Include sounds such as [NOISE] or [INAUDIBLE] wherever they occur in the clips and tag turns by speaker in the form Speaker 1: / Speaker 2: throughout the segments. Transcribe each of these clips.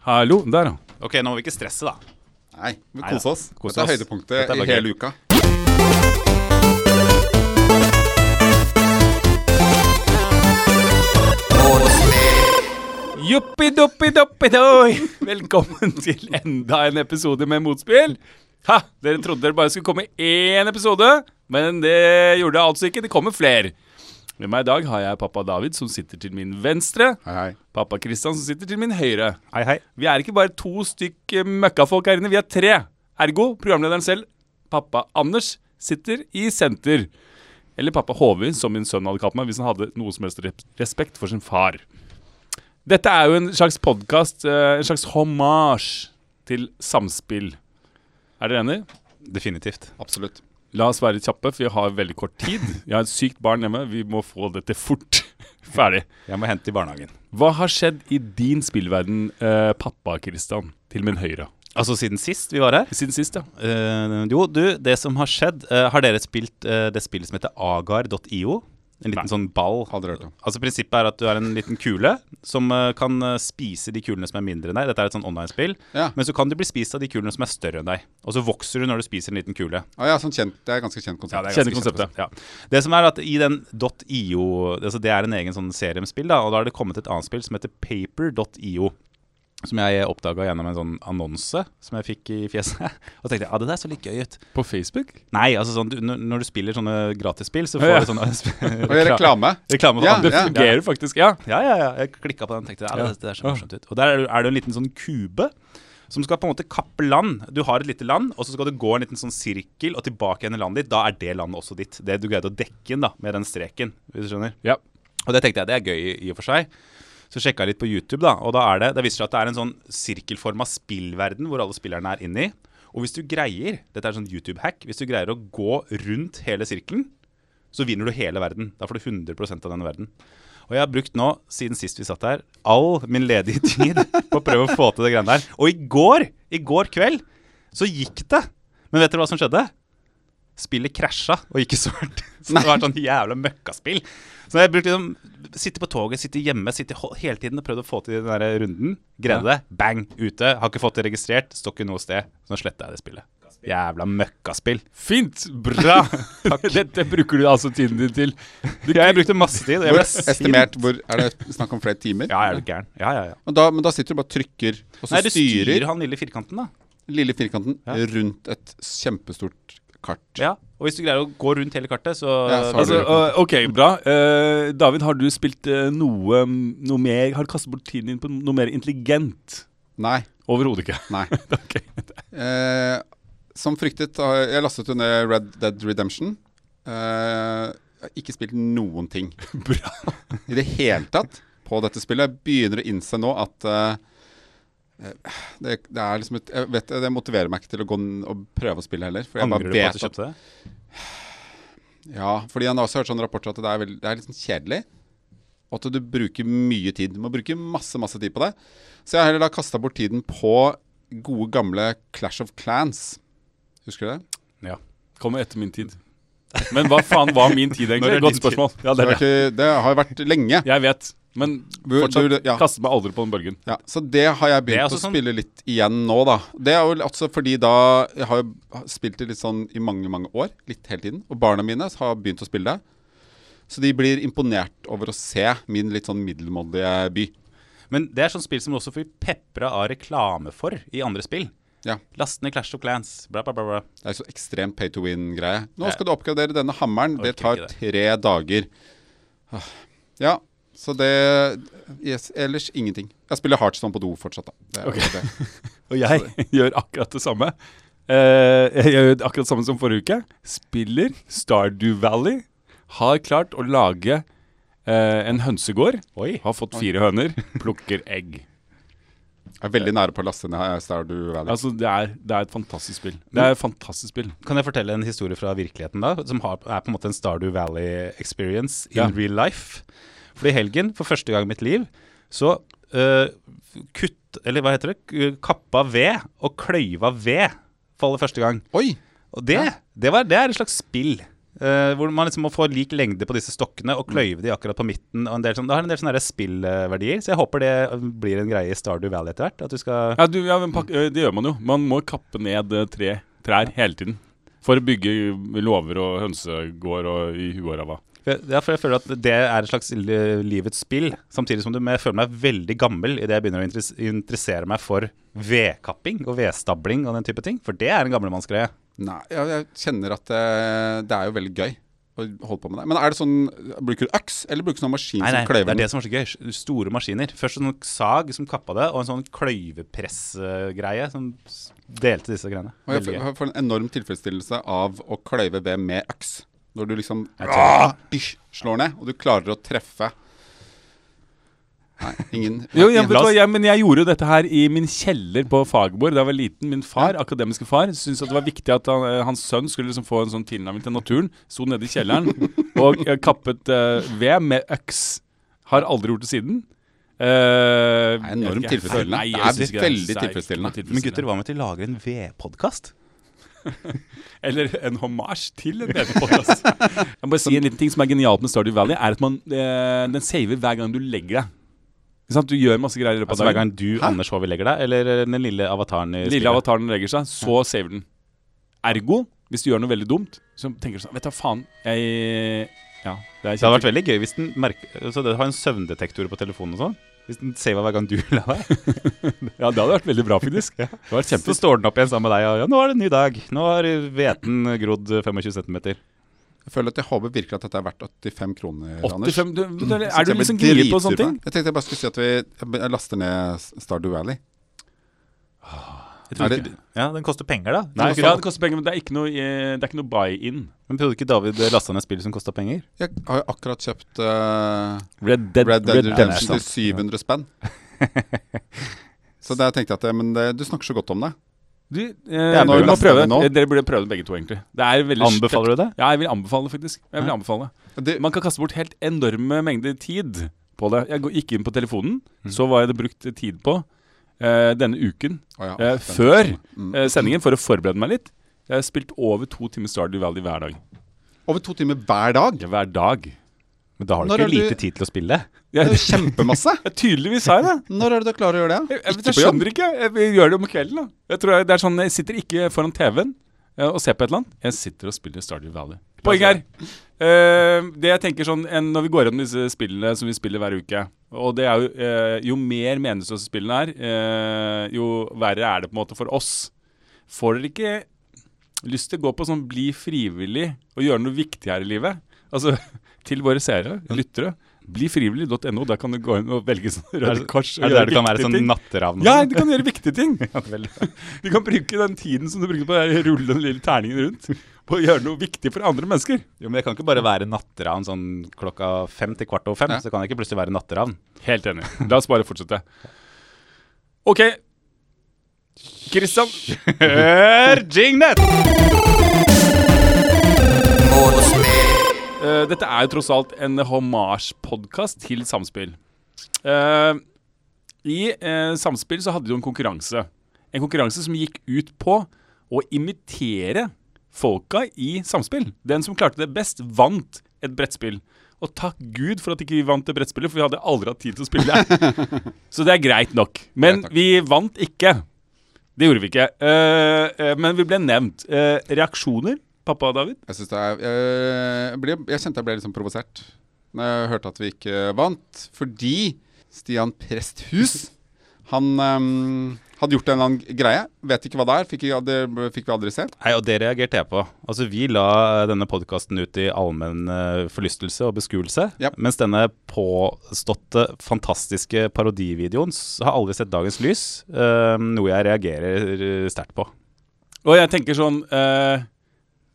Speaker 1: Hallo, der, ja.
Speaker 2: Ok, nå må vi ikke stresse, da.
Speaker 3: Nei, vi
Speaker 2: Neida.
Speaker 3: koser oss.
Speaker 1: Kos
Speaker 3: Dette er
Speaker 1: oss.
Speaker 3: høydepunktet
Speaker 2: Dette er bare
Speaker 3: i hele uka.
Speaker 1: Juppidoppidoppidoi! [LAUGHS] Velkommen til enda en episode med Motspill. Ha, dere trodde dere bare skulle komme én episode, men det gjorde det altså ikke. Det kommer flere. Med meg i dag har jeg pappa David, som sitter til min venstre.
Speaker 3: Hei, hei.
Speaker 1: Pappa Kristian, som sitter til min høyre.
Speaker 2: Hei, hei.
Speaker 1: Vi er ikke bare to stykk eh, møkkafolk her inne, vi er tre. Ergo programlederen selv, pappa Anders, sitter i senter. Eller pappa Håvi, som min sønn hadde kalt meg hvis han hadde noe som helst rep- respekt for sin far. Dette er jo en slags podkast, en slags hommage til samspill. Er dere enig?
Speaker 2: Definitivt.
Speaker 3: Absolutt.
Speaker 1: La oss være kjappe, for vi har veldig kort tid. Jeg har et sykt barn hjemme. Vi må få dette fort [LAUGHS] ferdig.
Speaker 2: Jeg må hente i barnehagen.
Speaker 1: Hva har skjedd i din spillverden, eh, pappa Kristian, til min høyre?
Speaker 2: Altså siden sist vi var her?
Speaker 1: Siden sist, ja.
Speaker 2: Eh, jo, du, det som har skjedd eh, Har dere spilt eh, det spillet som heter agar.io? En liten sånn ball.
Speaker 3: Hadde hørt om.
Speaker 2: Altså Prinsippet er at du er en liten kule som eh, kan eh, spise de kulene som er mindre enn deg. Dette er et sånn online-spill.
Speaker 3: Ja.
Speaker 2: Men så kan du bli spist av de kulene som er større enn deg. Og så vokser du når du spiser en liten kule.
Speaker 3: Ah, ja, sånn kjent, det er ganske kjent konsept.
Speaker 1: det er ganske Kjenner konseptet.
Speaker 2: Ja. Det som er at i den .io altså Det er en egen sånn serie med spill, da, og da har det kommet et annet spill som heter paper.io. Som jeg oppdaga gjennom en sånn annonse som jeg fikk i fjeset. [LAUGHS] Og så tenkte jeg ja, det der så litt gøy ut.
Speaker 1: På Facebook?
Speaker 2: Nei, altså sånn, du, når- når du spiller sånne gratisspill, så
Speaker 1: Ja.
Speaker 2: får du sånne [LAUGHS] sp-
Speaker 3: Og i reklame.
Speaker 2: [LAUGHS] reklame for
Speaker 3: Ja,
Speaker 2: andre.
Speaker 1: Det fungerer faktisk, ja.
Speaker 2: Ja, ja, ja. Jeg klikka på den og tenkte ja,
Speaker 1: Ja.
Speaker 2: det, det er så morsomt ut. Og der er det- er det en liten sånn kube som skal på en måte kappe land. Du har et lite land, og så skal du gå en liten sånn sirkel og tilbake igjen i landet ditt. Da er det landet også ditt. Det du greide å dekke inn da, med den streken, hvis du skjønner.
Speaker 1: ja.
Speaker 2: Og det tenkte jeg, det er gøy i- i og for seg. Så sjekka jeg litt på YouTube, da, og da er det, det viser seg at det er en sånn sirkelforma spillverden hvor alle spillerne er inni. Og hvis du greier, dette er en sånn YouTube-hack, hvis du greier å gå rundt hele sirkelen, så vinner du hele verden. Da får du 100 av denne verden. Og jeg har brukt nå, siden sist vi satt her, all min ledige tid [LAUGHS] på å prøve å få til det greiene der. Og i går, i går kveld, så gikk det. Men vet dere hva som skjedde? spillet krasja og gikk i svart. [LAUGHS] Så det var et sånn jævla møkkaspill. Så jeg brukte liksom Sitte på toget, sitte hjemme, sitte ho- hele tiden og prøvde å få til den der runden. Greide det. Bang! Ute. Har ikke fått det registrert. Står ikke noe sted. Så nå sletter jeg det spillet. Jævla møkkaspill.
Speaker 1: Fint!
Speaker 3: [LAUGHS]
Speaker 1: Bra! [LAUGHS] Dette bruker du altså tiden din til.
Speaker 2: Du, jeg brukte masse tid. Og jeg
Speaker 3: Hvor,
Speaker 2: ble sint.
Speaker 3: estimert hvor Er det snakk om flere timer?
Speaker 2: Ja, er du gæren. Ja, ja, ja.
Speaker 3: Men da, men da sitter du bare og trykker, og så
Speaker 2: Nei, du
Speaker 3: styrer,
Speaker 2: styrer han lille firkanten, da.
Speaker 3: lille firkanten
Speaker 2: Ja.
Speaker 3: rundt et kjempestort kart.
Speaker 2: Ja. Og hvis du greier å gå rundt hele kartet, så
Speaker 3: Ja, så har
Speaker 1: [LAUGHS] Altså,
Speaker 3: du-
Speaker 1: øh, OK, bra. Eh, David, har du spilt eh, noe, noe mer Har du kastet bort tiden din på noe mer intelligent?
Speaker 3: Nei.
Speaker 1: Overhodet ikke.
Speaker 3: Nei.
Speaker 1: [LAUGHS]
Speaker 3: [LAUGHS]
Speaker 1: Ok.
Speaker 3: Eh, som fryktet har jeg- Jeg lastet jo ned Red Dead Redemption. Eh, jeg har ikke spilt noen ting
Speaker 1: Bra.
Speaker 3: i det hele tatt på dette spillet. Jeg begynner å innse nå at eh, det, det er liksom et, jeg vet, det motiverer meg ikke til å gå n- og prøve å spille heller. For jeg
Speaker 2: Angrer
Speaker 3: bare
Speaker 2: du på
Speaker 3: vet
Speaker 2: at du
Speaker 3: at,
Speaker 2: kjøpte det?
Speaker 3: ja, fordi jeg har også hørt sånne rapporter at det er, veld, det er litt sånn kjedelig. Og at du bruker mye tid. Du må bruke masse masse tid på det. Så jeg har heller da kasta bort tiden på gode, gamle Clash of Clans. Husker du det?
Speaker 2: Ja.
Speaker 1: Kommer etter min tid. Men hva faen var min tid,
Speaker 2: Når er
Speaker 1: egentlig? Godt
Speaker 2: din tid?
Speaker 1: spørsmål. Ja, det er
Speaker 3: Det, er
Speaker 1: det.
Speaker 3: ikke, det har jo vært lenge.
Speaker 1: Jeg vet. Men
Speaker 3: Du-
Speaker 1: fortsatt
Speaker 3: du- ja.
Speaker 1: kastet meg aldri på den bølgen.
Speaker 3: Ja, så det har jeg
Speaker 2: Det er
Speaker 3: begynt
Speaker 2: også
Speaker 3: å
Speaker 2: sånn-
Speaker 3: spille litt igjen nå, da. Det er jo også fordi da Jeg har jo spilt det litt sånn i mange, mange år. Litt hele tiden. Og barna mine har begynt å spille det. Så de blir imponert over å se min litt sånn middelmådige by.
Speaker 2: Men det er sånn spill som du også får pepra av reklame for i andre spill.
Speaker 3: Ja.
Speaker 2: Last ned Clash of Clans. Bla, bla, bla, bla.
Speaker 3: Det er jo så ekstremt pay to win-greie.
Speaker 2: Ja.
Speaker 3: Nå skal du oppgradere denne hammeren. Det
Speaker 2: Orker
Speaker 3: tar
Speaker 2: ikke det.
Speaker 3: tre dager. Ah, Ja, så det yes, Ellers ingenting. Jeg spiller Heartstone på do fortsatt, da. Det er
Speaker 1: Ok.
Speaker 2: [LAUGHS]
Speaker 3: jo det.
Speaker 1: Og jeg [LAUGHS] gjør akkurat det samme. Eh, jeg gjør akkurat det samme som forrige uke. Spiller Stardew Valley. Har klart å lage eh, en hønsegård.
Speaker 2: Oi.
Speaker 1: Har fått fire høner.
Speaker 2: [LAUGHS]
Speaker 1: Plukker egg.
Speaker 3: Jeg er veldig nære på å laste ned Stardew Valley.
Speaker 1: Altså, det er, det er et fantastisk spill. Det er et fantastisk spill.
Speaker 2: Kan jeg fortelle en historie fra virkeligheten, da? Som har, er på en måte en Stardew Valley experience in
Speaker 1: Ja.
Speaker 2: real life. For i helgen, for første gang i mitt liv, så øh, kutt Eller hva heter det? K- øh, Kappa ved og kløyva ved for aller første gang.
Speaker 3: Oi!
Speaker 2: Og det, det, var, det er et slags spill. Eh, hvor man liksom må få lik lengde på disse stokkene og kløyve de akkurat på midten. Og en del sånn, det har en del sånne her spillverdier, så jeg håper det blir en greie i Stardew Valley etter hvert. At du skal
Speaker 1: Ja, du, ja, men pak- ø, det gjør man jo. Man må kappe ned ø, tre trær hele tiden. For å bygge låver og hønsegård og i huet og ræva.
Speaker 2: For jeg- Ja, for jeg føler at det er et slags li- livets spill. Samtidig som du, men jeg føler meg veldig gammel idet jeg begynner å interes- interessere meg for vedkapping og vedstabling og den type ting. For det er en gamlemannsgreie.
Speaker 3: Nei, jeg, jeg kjenner at det, det er jo veldig gøy å holde på med det. Men er det sånn Bruker du øks, eller bruker du sånn maskin
Speaker 2: Nei, nei,
Speaker 3: som kløyver
Speaker 2: det er
Speaker 3: den?
Speaker 2: det som var så gøy. S- Store maskiner. Først en sånn sag som kappa det, og en sånn kløyvepressgreie som s- delte disse greiene.
Speaker 3: Og jeg,
Speaker 2: Veldig gøy.
Speaker 3: får- jeg får en enorm tilfredsstillelse av å kløyve ved med øks. Når du liksom
Speaker 2: Jeg
Speaker 3: ah, bish, slår ned, og du klarer å treffe Nei, ingen
Speaker 1: [LAUGHS] Jo, jeg, vet du
Speaker 2: La
Speaker 1: hva,
Speaker 2: oss-
Speaker 1: jeg, men jeg gjorde jo dette her i min kjeller på Fagerborg da jeg var liten. Min far, akademiske far, syntes at det var viktig at han, eh, hans sønn skulle liksom få en sånn tilnærming til naturen. Sto nede i
Speaker 3: [LAUGHS]
Speaker 1: kjelleren og eh, kappet eh, ved med øks. Har aldri gjort det siden. Eh,
Speaker 3: Det er enormt
Speaker 1: jeg vet ikke, jeg
Speaker 3: tilfredsstillende.
Speaker 1: føler- nei, jeg
Speaker 3: Det er
Speaker 1: synes ikke det er
Speaker 3: veldig
Speaker 1: særlig
Speaker 3: tilfredsstillende.
Speaker 2: Men gutter, hva med at de lager en vedpodkast?
Speaker 1: Eller en hommage til en
Speaker 3: [LAUGHS]
Speaker 1: TV-podkast. Jeg må bare si en liten ting som er genialt med Stardew Valley, er at man, eh, den saver hver gang du legger deg. Ikke sant? Du gjør masse greier i løpet
Speaker 2: Altså
Speaker 1: av
Speaker 2: Hver
Speaker 1: dagen.
Speaker 2: gang du, Anders Håvi, legger deg, eller den lille avataren i
Speaker 1: Lille
Speaker 2: spillet?
Speaker 1: avataren legger seg, så saver den. Ergo, hvis du gjør noe veldig dumt, så tenker du sånn Vet du hva faen, jeg Ja, det er
Speaker 2: Det hadde vært
Speaker 1: kjempe...
Speaker 2: veldig gøy hvis den merker Så det har en søvndetektor på telefonen og sånn. Hvis den saver hver gang du [LAUGHS] la deg,
Speaker 1: Ja, det hadde vært veldig bra, [LAUGHS] faktisk. Det var
Speaker 2: så
Speaker 1: kjempe...
Speaker 2: står den opp igjen sammen med deg og ja, 'Nå er det en ny dag. Nå har hveten grodd 25 cm'.
Speaker 3: Jeg føler at jeg håper virkelig at dette er verdt 85 kroner, Anders.
Speaker 1: 85 du, du, Er
Speaker 3: Jeg
Speaker 1: du
Speaker 3: blir
Speaker 1: liksom gniet på
Speaker 3: dritsur
Speaker 1: sånne ting?
Speaker 3: deg. Jeg tenkte jeg bare skulle si at vi jeg jeg laster ned Stardew Valley.
Speaker 2: Ah,
Speaker 3: Er det-
Speaker 2: Ja, den koster penger, da.
Speaker 1: Nei,
Speaker 2: Nei,
Speaker 1: ja, det koster penger, men det er ikke noe, eh, det er ikke noe buy-in.
Speaker 2: Men trodde ikke David lasta ned spill som kosta penger?
Speaker 3: Jeg har jo akkurat kjøpt eh,
Speaker 1: Red Dead,
Speaker 3: Red Dead
Speaker 2: Redemption.
Speaker 3: Redemption til 700
Speaker 1: [LAUGHS]
Speaker 3: spenn. Så der tenkte jeg at eh, Men det, du snakker så godt om det.
Speaker 1: Du, eh, du
Speaker 3: er bare
Speaker 1: må
Speaker 3: å laste
Speaker 1: prøve.
Speaker 3: ned nå.
Speaker 1: Eh, Dere burde prøve det begge to, egentlig. Det er veldig
Speaker 2: Anbefaler du det?
Speaker 1: Ja, jeg vil anbefale det, faktisk. Jeg vil
Speaker 2: Ja.
Speaker 1: anbefale
Speaker 3: det
Speaker 1: Man kan kaste bort helt enorme mengder tid på det. Jeg gå- gikk inn på telefonen, så var jeg det brukt tid på eh, denne uken
Speaker 3: Å ja,
Speaker 1: eh,
Speaker 3: den-
Speaker 1: før
Speaker 3: Mm.
Speaker 1: eh, sendingen for å forberede meg litt. Jeg har spilt over to timer Stardew Valley hver dag.
Speaker 3: Over to timer hver dag.
Speaker 1: Ja, Hver dag.
Speaker 2: Men da har du
Speaker 3: Når
Speaker 2: ikke
Speaker 3: er du-
Speaker 2: lite tid til å spille.
Speaker 3: Det
Speaker 1: Jeg, [LAUGHS]
Speaker 3: er jo kjempemasse.
Speaker 1: jeg tydeligvis har jeg det.
Speaker 3: Når er det du klarer å gjøre det?
Speaker 1: Jeg, jeg,
Speaker 3: Ikke
Speaker 1: jeg
Speaker 3: på jobb?
Speaker 1: skjønner ikke. Jeg, jeg gjør det om kvelden. da Jeg tror jeg, det er sånn, jeg sitter ikke foran TV-en eh, og ser på et eller annet. Jeg sitter og spiller Stardew Valley. Poenget er eh, Det jeg tenker sånn en, Når vi går gjennom disse spillene som vi spiller hver uke Og det er jo eh, Jo mer meningsløse spillene er, eh, jo verre er det på en måte for oss. Får dere ikke lyst til å gå på sånn bli frivillig og gjøre noe viktig her i livet? Altså [LAUGHS] til våre seere, lyttere. Blifrivillig.no. Der kan du gå inn og velge sånn Røde Kors. og
Speaker 2: Er det
Speaker 1: gjøre
Speaker 2: der du kan være
Speaker 1: viktige
Speaker 2: sånn
Speaker 1: ting.
Speaker 2: natteravn? og
Speaker 1: Ja,
Speaker 2: sånn?
Speaker 1: du kan gjøre viktige [LAUGHS] ting.
Speaker 2: Ja, vel.
Speaker 1: Du kan bruke den tiden som du bruker på å rulle den lille terningen rundt, på å gjøre noe viktig for andre mennesker.
Speaker 2: Jo, men jeg kan ikke bare være natteravn sånn klokka fem til kvart over fem.
Speaker 3: Ja.
Speaker 2: Så kan jeg ikke plutselig være natteravn.
Speaker 1: Helt enig. La oss bare fortsette. OK. Kristian,
Speaker 2: Hør Jingnet!
Speaker 1: eh, dette er jo tross alt en hommage-podkast til Samspill. Eh, I eh, Samspill så hadde de jo en konkurranse. En konkurranse som gikk ut på å imitere folka i Samspill. Den som klarte det best, vant et brettspill. Og takk Gud for at ikke vi vant det brettspillet, for vi hadde aldri hatt tid til å spille det. så det er greit nok. Men
Speaker 3: Greit nok.
Speaker 1: vi vant ikke. Det gjorde vi ikke. Eh, eh, men vi ble nevnt. Eh, reaksjoner, pappa David?
Speaker 3: Jeg, synes det er, jeg, ble, jeg kjente jeg ble litt sånn provosert når jeg hørte at vi ikke vant. Fordi Stian Presthus han ehm, hadde gjort en eller annen greie. Vet ikke hva det er. Fikk, ikke, det fikk vi aldri se.
Speaker 2: Nei, og det reagerte jeg på. Altså, vi la eh, denne podkasten ut i allmenn eh, forlystelse og beskuelse.
Speaker 3: Ja.
Speaker 2: Mens denne påståtte fantastiske parodivideoen s- har aldri sett dagens lys. eh, noe jeg reagerer eh, sterkt på.
Speaker 1: Og jeg tenker sånn eh,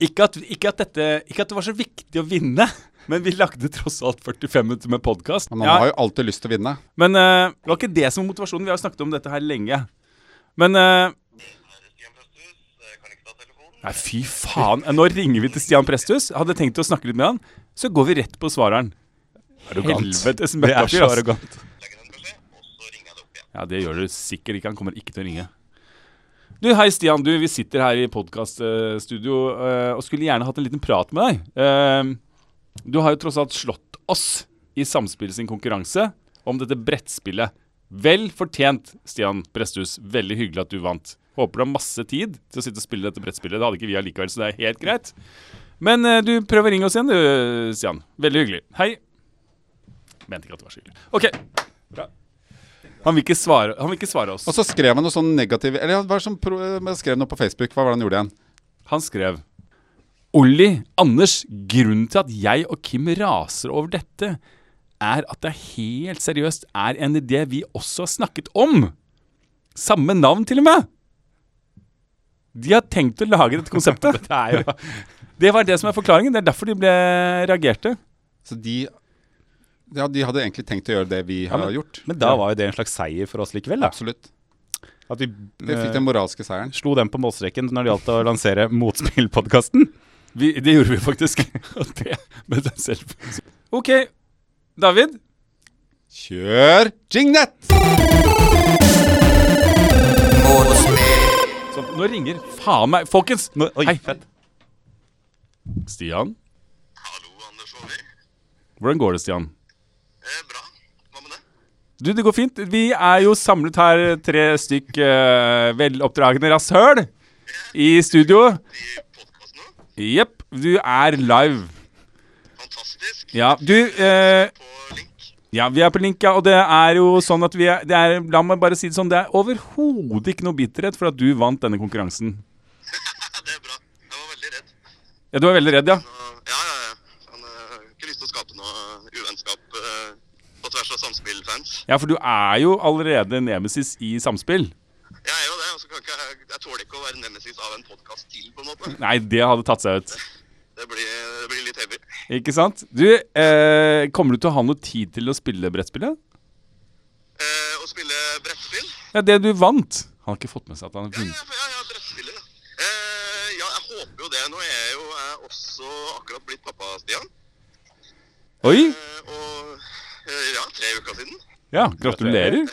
Speaker 1: ikke, at, ikke, at dette, ikke at det var så viktig å vinne, men vi lagde tross alt 45 minutter med podkast.
Speaker 3: Men han har jo alltid lyst til å vinne.
Speaker 1: Men eh, det var ikke det som var motivasjonen. Vi har jo snakket om dette her lenge. Men eh, Nei, fy faen. Eh, Nå ringer vi til Stian Presthus. Hadde tenkt å snakke litt med han. Så går vi rett på svareren. Helvetes
Speaker 2: [LAUGHS] Det er
Speaker 1: møkkafyr.
Speaker 2: så
Speaker 1: ass.
Speaker 2: arrogant.
Speaker 1: Ja, det gjør du sikkert ikke. Han kommer ikke til å ringe. Du, Hei, Stian. du, Vi sitter her i podkaststudio og skulle gjerne hatt en liten prat med deg. Eh, du har jo tross alt slått oss i Samspill sin konkurranse om dette brettspillet. Vel fortjent, Stian Presthus. Veldig hyggelig at du vant. Håper du har masse tid til å sitte og spille dette brettspillet. Det hadde ikke vi allikevel, så det er helt greit. Men eh, du prøver å ringe oss igjen, du, Stian. Veldig hyggelig. Hei. Mente ikke at det var så hyggelig. OK. Han vil ikke svare, han vil ikke svare oss.
Speaker 3: Og så skrev han noe sånn negativ Eller han var sånn pro, han skrev noe på Facebook. Hva var det han gjorde igjen?
Speaker 1: Han skrev Olli, Anders, grunnen til at jeg og Kim raser over dette, er at det helt seriøst er en idé vi også har snakket om. Samme navn, til og med. De har tenkt å lage dette konseptet.
Speaker 2: [LAUGHS] Det er jo
Speaker 1: Det var det som er forklaringen. Det er derfor de ble reagerte.
Speaker 3: Så de Ja, de hadde egentlig tenkt å gjøre det vi har
Speaker 2: men-
Speaker 3: gjort.
Speaker 2: [LAUGHS] Men da var jo det en slags seier for oss likevel, da.
Speaker 3: Absolutt.
Speaker 2: At vi
Speaker 3: Vi fikk
Speaker 2: eh,
Speaker 3: den moralske seieren.
Speaker 2: slo den på målstreken når det gjaldt å lansere [LAUGHS] Motspillpodkasten.
Speaker 1: Vi, det gjorde vi faktisk. [LAUGHS] Og det med dem selv. OK. David,
Speaker 3: Kjør jingnet!
Speaker 1: Så, nå ringer faen meg Folkens!
Speaker 2: Nå- Oi,
Speaker 1: Hei.
Speaker 2: fett.
Speaker 1: Stian?
Speaker 4: Hallo, Anders Aali.
Speaker 1: Hvordan går det, Stian?
Speaker 4: Eh, bra. Hva med det?
Speaker 1: Du, det går fint. Vi er jo samlet her, tre stykk eh, veloppdragne rasshøl i studio.
Speaker 4: I podkasten nå?
Speaker 1: Jepp, du er live.
Speaker 4: Fantastisk.
Speaker 1: Ja, du eh,
Speaker 4: På link.
Speaker 1: Ja, vi er på link, ja. Og det er jo sånn at vi er, det er La meg bare si det sånn, det er overhodet ikke noe bitterhet for at du vant denne konkurransen.
Speaker 4: det er bra. Jeg var veldig redd.
Speaker 1: Ja, Du er veldig redd, ja?
Speaker 4: Og- Ja, ja, ja. Han eh, har ikke lyst til å skape noe eh, uvennskap eh, på tvers av Samspill-fans.
Speaker 1: Ja, for du er jo allerede nemesis i samspill.
Speaker 4: Jeg er jo det. og så kan ikke jeg, jeg tåler ikke å være nemesis av en podkast til, på en måte.
Speaker 1: Nei, det hadde tatt seg ut.
Speaker 4: Det blir, det blir litt heavy.
Speaker 1: Ikke sant? Du, eh, kommer du til å ha noe tid til å spille brettspillet?
Speaker 4: Eh, å spille brettspill?
Speaker 1: Ja, det du vant. Han har ikke fått med seg at han har
Speaker 4: Ja,
Speaker 1: vunnet.
Speaker 4: ja, ja, ja brettspillet. ja. Eh, ja, jeg håper jo det. Nå er jeg jo eh, også akkurat blitt pappa, Stian.
Speaker 1: Oi!
Speaker 4: Eh, og eh, ja, tre uker siden.
Speaker 1: Ja, gratulerer.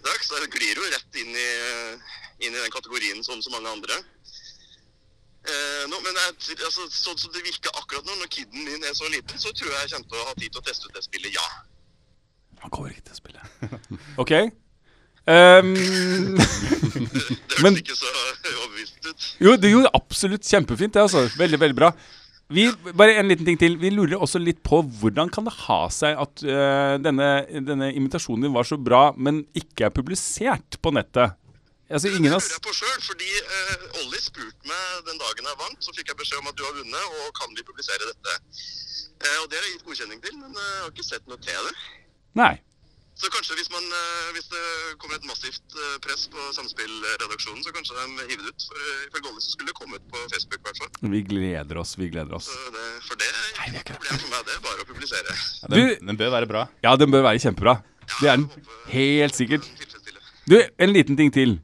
Speaker 4: Takk, så jeg glir jo rett inn i, inn i den kategorien som så mange andre. Eh, nå, men jeg, altså, sånn som det virker akkurat nå, når kiden min er så liten, så tror jeg jeg kommer til å ha tid til å teste ut det spillet, ja.
Speaker 1: Han kommer ikke til å spille. [LAUGHS] OK. Ehm,
Speaker 4: Det høres
Speaker 1: Men-
Speaker 4: ikke så [LAUGHS] overbevisende ut.
Speaker 1: jo, det gjorde absolutt kjempefint, det, altså. Veldig, veldig bra. Vi, bare en liten ting til. Vi lurer også litt på hvordan kan det ha seg at øh, denne, denne invitasjonen din var så bra, men ikke er publisert på nettet? Altså, ingen
Speaker 4: Det
Speaker 1: av
Speaker 4: lurer
Speaker 1: s-
Speaker 4: jeg på selv, fordi eh, Olli spurte meg den dagen jeg vant, så fikk jeg beskjed om at du har vunnet, og kan vi publisere dette? Eh, og det har jeg gitt godkjenning til, men eh, jeg har ikke sett noe til det.
Speaker 1: Nei.
Speaker 4: Så kanskje hvis, man, eh, hvis det kommer et massivt eh, press på Samspillredaksjonen, så kanskje de hiver det ut. For eh, ifølge Olli så skulle det komme ut på Facebook, i hvert fall.
Speaker 1: Vi gleder oss, vi gleder oss.
Speaker 4: Så det, for det er ikke noe problem for meg, det er bare å publisere.
Speaker 2: Ja, den,
Speaker 1: Du-
Speaker 2: den bør være bra.
Speaker 1: Ja, den bør være kjempebra. Det er den helt sikkert.
Speaker 4: Men tilfredsstille.
Speaker 1: Du, en liten ting til.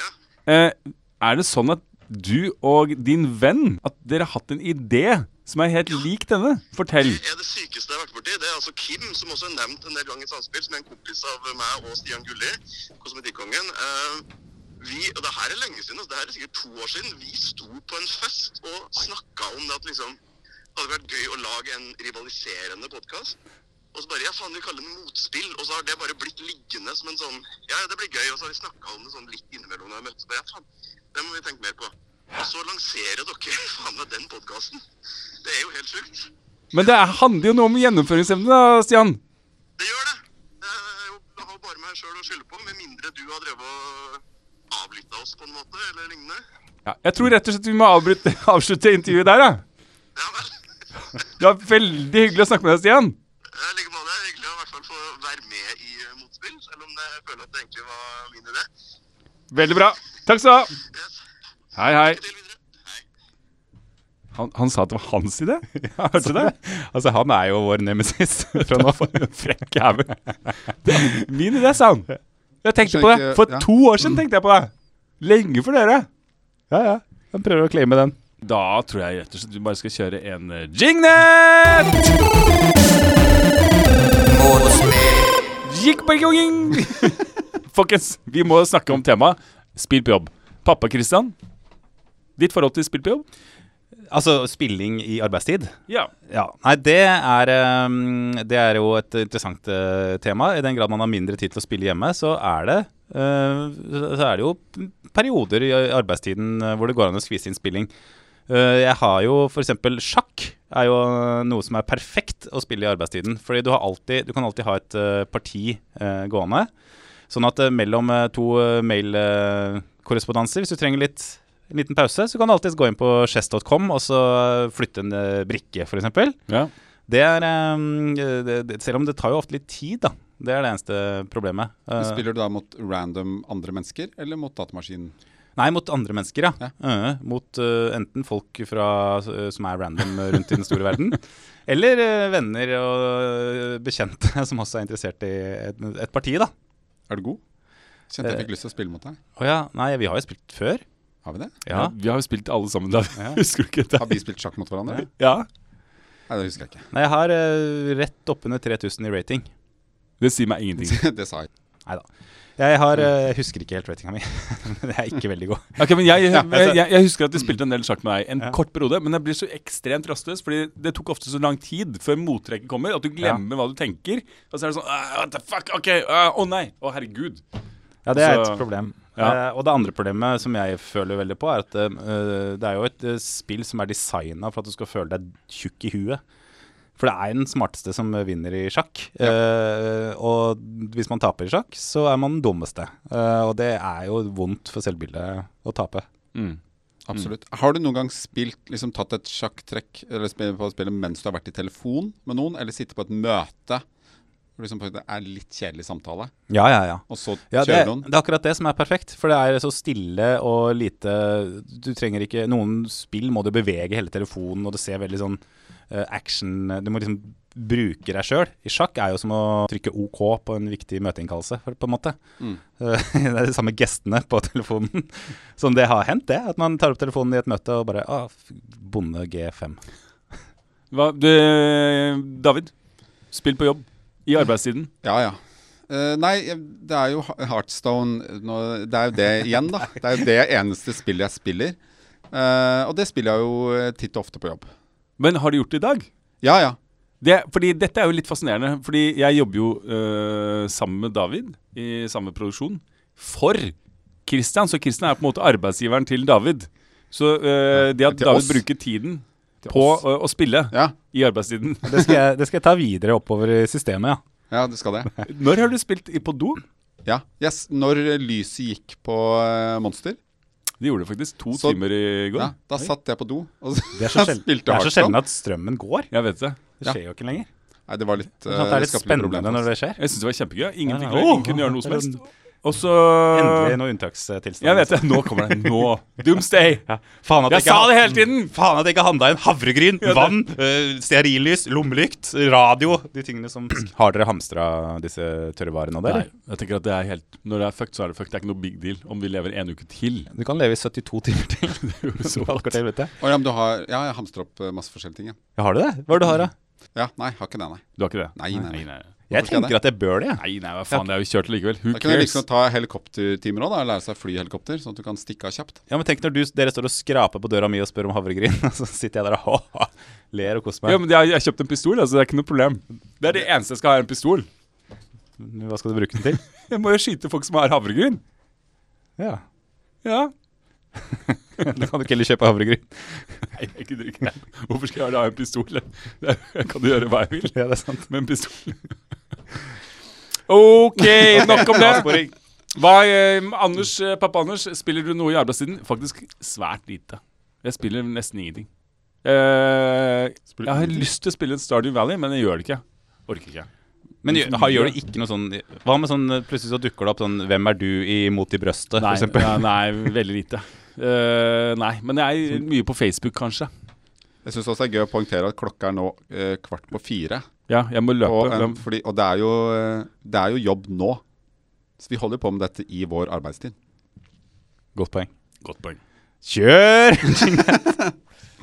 Speaker 4: Ja.
Speaker 1: Eh, er det sånn at du og din venn At dere har hatt en idé som er helt lik denne? Fortell.
Speaker 4: Det er det sykeste jeg har vært borti. Det er altså Kim, som også er nevnt en del ganger i Samspill, som er en kompis av meg og Stian Gulli, kosmetikkongen. Eh, vi, og det her er lenge siden, altså, det her er sikkert to år siden, vi sto på en fest og snakka om det at liksom hadde vært gøy å lage en rivaliserende podkast. Og så bare ja, faen, vi kaller den Motspill. Og så har det bare blitt liggende som en sånn Ja, det blir gøy. Og så har vi snakka om det sånn litt innimellom når vi møtes. Bare ja, faen, det må vi tenke mer på. Og så lanserer dere [LAUGHS] faen meg den podkasten. Det er jo helt sjukt.
Speaker 1: Men det er- handler jo noe om gjennomføringsevne, da, Stian.
Speaker 4: Det gjør det. Eh, jo, Jeg har bare meg sjøl å skylde på, med mindre du har drevet og avlytta oss på en måte, eller lignende.
Speaker 1: Ja, jeg tror rett og slett vi må avbryte, [LAUGHS] avslutte intervjuet der, da.
Speaker 4: Ja vel. [LAUGHS]
Speaker 1: Det var veldig hyggelig å snakke med deg, Stian.
Speaker 4: Jeg ligger på det. er Hyggelig å i hvert fall få være med i eh, motspill, selv om jeg føler at det egentlig var min idé.
Speaker 1: Veldig bra. Takk skal du
Speaker 4: Yes.
Speaker 1: ha. Hei, hei.
Speaker 4: Til videre. Hei.
Speaker 1: Han, han sa at det var hans [LAUGHS] idé. Hørte du det?
Speaker 2: Altså, han er jo vår [LAUGHS] nemesis fra nå. Frekk jævel.
Speaker 1: Min idé, sa han. Jeg tenkte på det. For
Speaker 3: Skjønner ikke- ja.
Speaker 1: to år siden tenkte jeg på det. Lenge for dere.
Speaker 2: Ja, ja. Han prøver å claime den.
Speaker 1: Da tror jeg rett og slett vi bare skal kjøre en eh, jingnet! [LAUGHS] Jikk-bang-jong-jing! Folkens, vi må snakke om temaet spill på jobb. Pappa Christian, ditt forhold til spill på jobb?
Speaker 2: Altså spilling i arbeidstid.
Speaker 1: Ja.
Speaker 2: Ja, nei, det er, ehm, det er jo et interessant eh, tema. I den grad man har mindre tid til å spille hjemme, så er det, eh, så- så er det jo perioder i arbeidstiden eh, hvor det går an å skvise inn spilling. Eh, jeg har jo f.eks. sjakk er jo noe som er perfekt å spille i arbeidstiden. Fordi du, har alltid, du kan alltid ha et eh, parti eh, gående. Sånn at eh, mellom eh, to eh, mailkorrespondanser, hvis du trenger litt, en liten pause, så kan du alltids gå inn på chess.com og så eh, flytte en eh, brikke, f.eks.
Speaker 1: ja.
Speaker 2: Det er ehm, det, det, Selv om det tar jo ofte litt tid, da. Det er det eneste problemet. Eh,
Speaker 3: Men Spiller du da mot random andre mennesker, eller mot datamaskinen?
Speaker 2: Nei, mot andre mennesker, ja.
Speaker 3: Ja.
Speaker 2: Eh, mot eh, enten folk fra, eh, som er random rundt i den store verden, [LAUGHS] eller eh, venner og eh, bekjente [LAUGHS] som også er interessert i et, et parti, da.
Speaker 3: Er du god? Kjente jeg
Speaker 2: Eh.
Speaker 3: fikk lyst til å spille mot deg.
Speaker 2: Å ja. Nei, vi har jo spilt før.
Speaker 3: Har vi det?
Speaker 2: Ja.
Speaker 1: Vi har jo spilt alle sammen da.
Speaker 2: Ja.
Speaker 1: [LAUGHS] Husker du ikke
Speaker 3: Har
Speaker 1: det?
Speaker 3: vi spilt sjakk mot hverandre?
Speaker 1: Ja.
Speaker 3: Nei, det husker jeg ikke.
Speaker 2: Nei, jeg har eh, rett oppunder 3000 i rating.
Speaker 1: Det sier meg ingenting.
Speaker 3: [LAUGHS] det sa jeg.
Speaker 2: Nei da. Jeg har, eh, jeg husker ikke helt ratinga mi. [LAUGHS] Jeg er ikke veldig god.
Speaker 1: Ok, men
Speaker 2: [LAUGHS]
Speaker 1: jeg, jeg,
Speaker 2: altså-
Speaker 1: jeg, jeg husker at vi spilte en del sjakk med deg en
Speaker 2: Ja.
Speaker 1: kort periode, men jeg blir så ekstremt rastløs, fordi det tok ofte så lang tid før mottrekket kommer, at du glemmer hva du tenker. Og så er det sånn «Ah, What the fuck? Ok. ah, Å nei. Å herregud.
Speaker 2: Ja, det er
Speaker 1: Så-
Speaker 2: et problem.
Speaker 1: Ja.
Speaker 2: Eh, og det andre problemet som jeg føler veldig på, er at eh, det er jo et eh, spill som er designa for at du skal føle deg tjukk i huet. For det er den smarteste som eh, vinner i sjakk. Eh, og hvis man taper i sjakk, så er man den dummeste. Eh, og det er jo vondt for selvbildet å tape.
Speaker 3: Absolutt. Mm. Har du noen gang spilt, liksom tatt et sjakktrekk eller spill på spillet mens du har vært i telefon med noen, eller sitte på et møte hvor liksom det er litt kjedelig samtale,
Speaker 2: Ja, ja, ja.
Speaker 3: og så
Speaker 2: Ja, det,
Speaker 3: kjører noen?
Speaker 2: det er akkurat det som er perfekt, for det er så stille og lite Du trenger ikke Noen spill må du bevege hele telefonen, og det ser veldig sånn eh, action Du må liksom bruke deg sjøl. I sjakk er jo som å trykke OK på en viktig møteinnkallelse, for- på en måte.
Speaker 3: Mm.
Speaker 2: Eh, [LAUGHS] det er de samme gestene på telefonen [LAUGHS] som det har hendt, det. At man tar opp telefonen i et møte og bare ah, f- Bonde G5.
Speaker 1: Hva, du, David, spill på jobb i arbeidstiden.
Speaker 3: Ja, ja. Eh, nei, jeg- det er jo Ha- Heartstone nå, Det er jo det igjen, da. Det er jo det eneste spillet jeg spiller. Eh, og det spiller jeg jo eh, titt og ofte på jobb.
Speaker 1: Men har du gjort det i dag?
Speaker 3: Ja, ja.
Speaker 1: Det, fordi Dette er jo litt fascinerende. Fordi jeg jobber jo øh, sammen med David i samme produksjon for Christian. Så Christian er på en måte arbeidsgiveren til David. Så øh, det at
Speaker 3: til
Speaker 1: David
Speaker 3: oss.
Speaker 1: bruker tiden på
Speaker 3: oss.
Speaker 1: øh, å spille
Speaker 3: Ja,
Speaker 1: i arbeidstiden
Speaker 2: Det skal, jeg, det skal jeg ta videre oppover i systemet,
Speaker 3: [LAUGHS]
Speaker 2: ja.
Speaker 3: ja du skal det.
Speaker 1: [LAUGHS]
Speaker 2: [LAUGHS]
Speaker 1: Når har du spilt i på do?
Speaker 3: Ja. Yes, når lyset gikk på eh, Monster,
Speaker 1: Det gjorde du faktisk to
Speaker 3: Så-
Speaker 1: timer i går.
Speaker 3: ja, da satt jeg på do og
Speaker 2: Det
Speaker 3: [LAUGHS]
Speaker 2: er så sjel-
Speaker 3: spilte
Speaker 2: det er så sjelden
Speaker 3: Heartstone.
Speaker 2: at strømmen går.
Speaker 1: Jeg vet det.
Speaker 2: Det
Speaker 3: Ja.
Speaker 2: skjer jo ikke lenger.
Speaker 3: Nei, det var litt
Speaker 2: Sånn at det
Speaker 3: eh,
Speaker 2: er litt
Speaker 3: skapte litt problemer
Speaker 2: spennende
Speaker 3: for
Speaker 2: når
Speaker 3: oss.
Speaker 2: det skjer.
Speaker 1: Jeg syns det var kjempegøy. Ingen, fikk
Speaker 2: Ja, ja.
Speaker 1: løgn, ingen kunne gjøre noe som helst. Og så
Speaker 2: Endelig noe unntakstilstand.
Speaker 1: Jeg vet det. Nå kommer det. Nå. Doomsday.
Speaker 2: Ja. Faen at
Speaker 1: Jeg
Speaker 2: ikke
Speaker 1: sa
Speaker 2: han-
Speaker 1: det hele tiden!
Speaker 2: Faen at jeg ikke handla inn havregryn, vann, øh, stearinlys, lommelykt, radio. De tingene som [CLEARS THROAT] Har dere hamstra disse tørrvarene av det?
Speaker 1: Nei,
Speaker 2: eller?
Speaker 1: jeg tenker at det er helt Når det er fucked, så er det fucked. Det er ikke noe big deal om vi lever en uke
Speaker 3: [LAUGHS]
Speaker 1: til.
Speaker 2: Du kan leve i 72 timer til. det gjorde
Speaker 1: så
Speaker 2: godt. Helvete.
Speaker 3: Å, ja, men du har, ja, jeg hamstrer opp eh, masse forskjellige ting. Ja.
Speaker 2: Ja, har du det? Hva er det du har, da?
Speaker 3: ja, nei, har ikke det, nei.
Speaker 1: Du har ikke det?
Speaker 3: Nei, nei, nei.
Speaker 1: nei.
Speaker 2: Jeg
Speaker 3: skal jeg
Speaker 2: tenker at jeg bør det. jeg.
Speaker 1: Nei, nei, hva faen. Det er jo kjørt likevel. Who
Speaker 3: Da kan jeg
Speaker 1: cares?
Speaker 3: liksom ta helikoptertimer òg, og lære seg å fly helikopter, sånn at du kan stikke av kjapt.
Speaker 2: Ja, men tenk når du, dere står og skraper på døra mi og spør om havregryn, [LAUGHS] og så sitter jeg der og ha-ha, ler og koser meg.
Speaker 1: Ja, men jeg, jeg kjøpte en pistol, altså. Det er ikke noe problem. Det er det eneste jeg skal ha, er en pistol.
Speaker 2: Hva skal du bruke den [LAUGHS] til?
Speaker 1: Jeg må jo skyte folk som har havregryn.
Speaker 2: Ja. [LAUGHS]
Speaker 1: Ja.
Speaker 2: Da kan du ikke heller kjøpe havregryn.
Speaker 1: Nei, jeg gidder ikke. Hvorfor skal jeg da ha en pistol? Det er- Jeg kan jo gjøre hva jeg vil
Speaker 2: Ja, det er sant.
Speaker 1: med en pistol. [LAUGHS] OK, nok om det.
Speaker 2: Avsporing.
Speaker 1: Hva, eh, Anders, eh, pappa Anders, spiller du noe i arbeidstiden? Faktisk svært lite. Jeg spiller nesten ingenting. Eh, jeg har lyst til å spille Stardew Valley, men jeg gjør det ikke. Orker ikke.
Speaker 2: Men gjør, har, gjør du ikke noe sånn Hva med sånn eh, plutselig så dukker det opp sånn 'Hvem er du i Mot i brøstet?'
Speaker 1: Nei,
Speaker 2: for eksempel.
Speaker 1: ja, nei veldig lite. Eh, nei, men jeg er mye på Facebook, kanskje.
Speaker 3: Jeg syns også det er gøy å poengtere at klokka er nå eh, kvart på fire.
Speaker 1: Ja, jeg må løpe.
Speaker 3: Og, um, fordi, og det, er jo, eh, det er jo jobb nå. Så vi holder på med dette i vår arbeidstid.
Speaker 2: [LAUGHS] Godt poeng.
Speaker 1: Godt poeng.
Speaker 2: Kjør!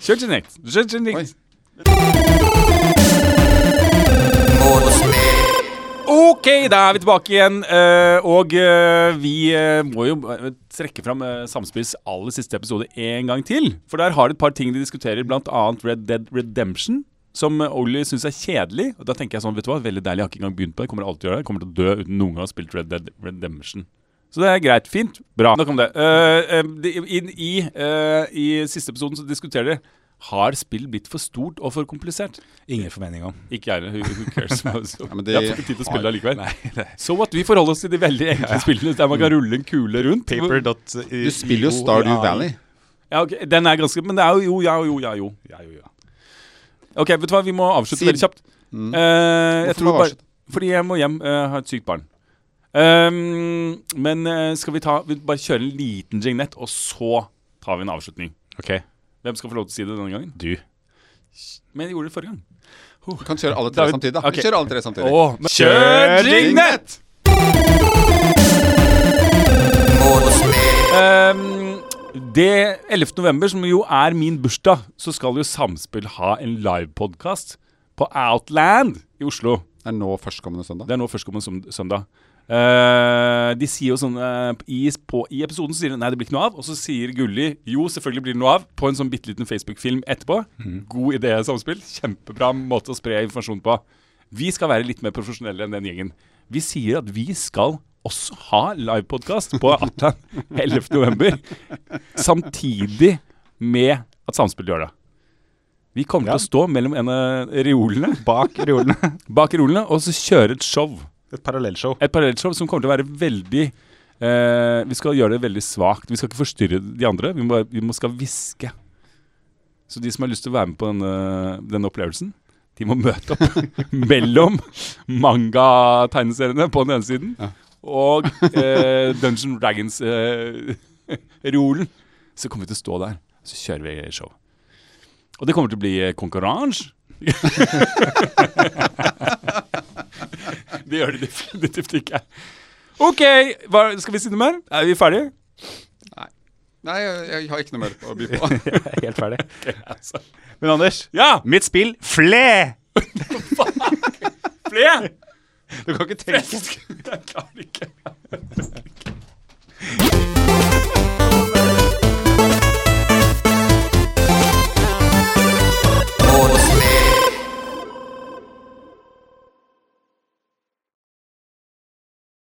Speaker 1: Kjør til nekt. Kjør til nekt.
Speaker 3: Oi.
Speaker 1: Å, Ok, da er vi tilbake igjen. eh, og eh, vi eh, må jo eh, trekke fram eh, Samspills aller siste episode en gang til. For der har de et par ting de diskuterer, bl.a. Red Dead Redemption. Som eh, Ollie syns er kjedelig. Og da tenker jeg sånn, vet du hva, veldig deilig, jeg har ikke engang begynt på det. Kommer alltid til å gjøre det. Kommer til å dø uten noen gang å ha spilt Red Dead Redemption. Så det er greit. Fint. Bra. Nok om det. Eh, eh, de, inn i, eh, I siste episoden så diskuterer de har spill blitt for stort og for komplisert.
Speaker 2: Ingen formening om.
Speaker 1: Ikke jeg heller. Who who cares?
Speaker 3: men de
Speaker 1: jeg har ikke tid til å spille det allikevel.
Speaker 2: Nei, det er
Speaker 1: Så at vi forholder oss til de veldig enkle spillene der man kan rulle en kule rundt.
Speaker 2: paper.
Speaker 3: Du spiller jo Stardew Valley.
Speaker 1: Ja, ok, Den er ganske Men det er jo jo, ja, jo, ja, jo.
Speaker 2: Ja, jo, ja.
Speaker 1: Ok, vet du hva, vi må avslutte
Speaker 3: Siden-
Speaker 1: veldig kjapt. Eh, jeg
Speaker 3: Hvorfor må
Speaker 1: tror
Speaker 3: vi
Speaker 1: bare
Speaker 3: avslutte?
Speaker 1: Fordi jeg må hjem. Uh, har et sykt barn. Ehm, men eh, skal vi ta Vi bare kjøre en liten jignett, og så tar vi en avslutning.
Speaker 2: Ok,
Speaker 1: Hvem skal få lov til å si det denne gangen?
Speaker 2: du.
Speaker 1: Men jeg gjorde det forrige gang.
Speaker 3: Du kan kjøre alle tre
Speaker 1: David-
Speaker 3: samtidig, da.
Speaker 1: ok.
Speaker 3: Vi kjører alle tre samtidig.
Speaker 1: Åh, men- Kjør jignett! Ehm, det 11. november, som jo er min bursdag, så skal jo Samspill ha en livepodkast på Outland i Oslo.
Speaker 3: Det er nå førstkommende søndag.
Speaker 1: Det er nå førstkommende søn- søndag. Eh, de sier jo sånn eh, i, på, I episoden så sier de nei, det blir ikke noe av. Og så sier Gulli jo, selvfølgelig blir det noe av, på en sånn bitte liten Facebook-film etterpå. God idé, Samspill. Kjempebra måte å spre informasjon på. Vi skal være litt mer profesjonelle enn den gjengen. Vi sier at vi skal også ha livepodkast på Atlan 11. november. Samtidig med at Samspill gjør det. Vi kommer til å stå mellom en av reolene,
Speaker 2: Bak reolene.
Speaker 1: bak reolene, og så kjøre et show
Speaker 2: Et parallellshow.
Speaker 1: et parallellshow som kommer til å være veldig eh, Vi skal gjøre det veldig svakt. Vi skal ikke forstyrre de andre. Vi må, vi må skal hviske. Så de som har lyst til å være med på denne, denne opplevelsen, de må møte opp [LAUGHS] mellom manga-tegneseriene på den ene siden og eh, Dungeon [LAUGHS] Dragons-reolen. så kommer vi til å stå der, så kjører vi show. Og det kommer til å bli eh, konkurranse. Det gjør det definitivt ikke. OK, hva, skal vi si noe mer? Er vi ferdige?
Speaker 3: Nei, jeg, jeg har ikke noe mer å by på. [LAUGHS]
Speaker 2: Helt [LAUGHS] ferdig. altså. Men Anders,
Speaker 1: Ja!
Speaker 2: mitt spill fle!
Speaker 1: Flere!
Speaker 2: Du kan ikke tenke
Speaker 1: Jeg klarer ikke.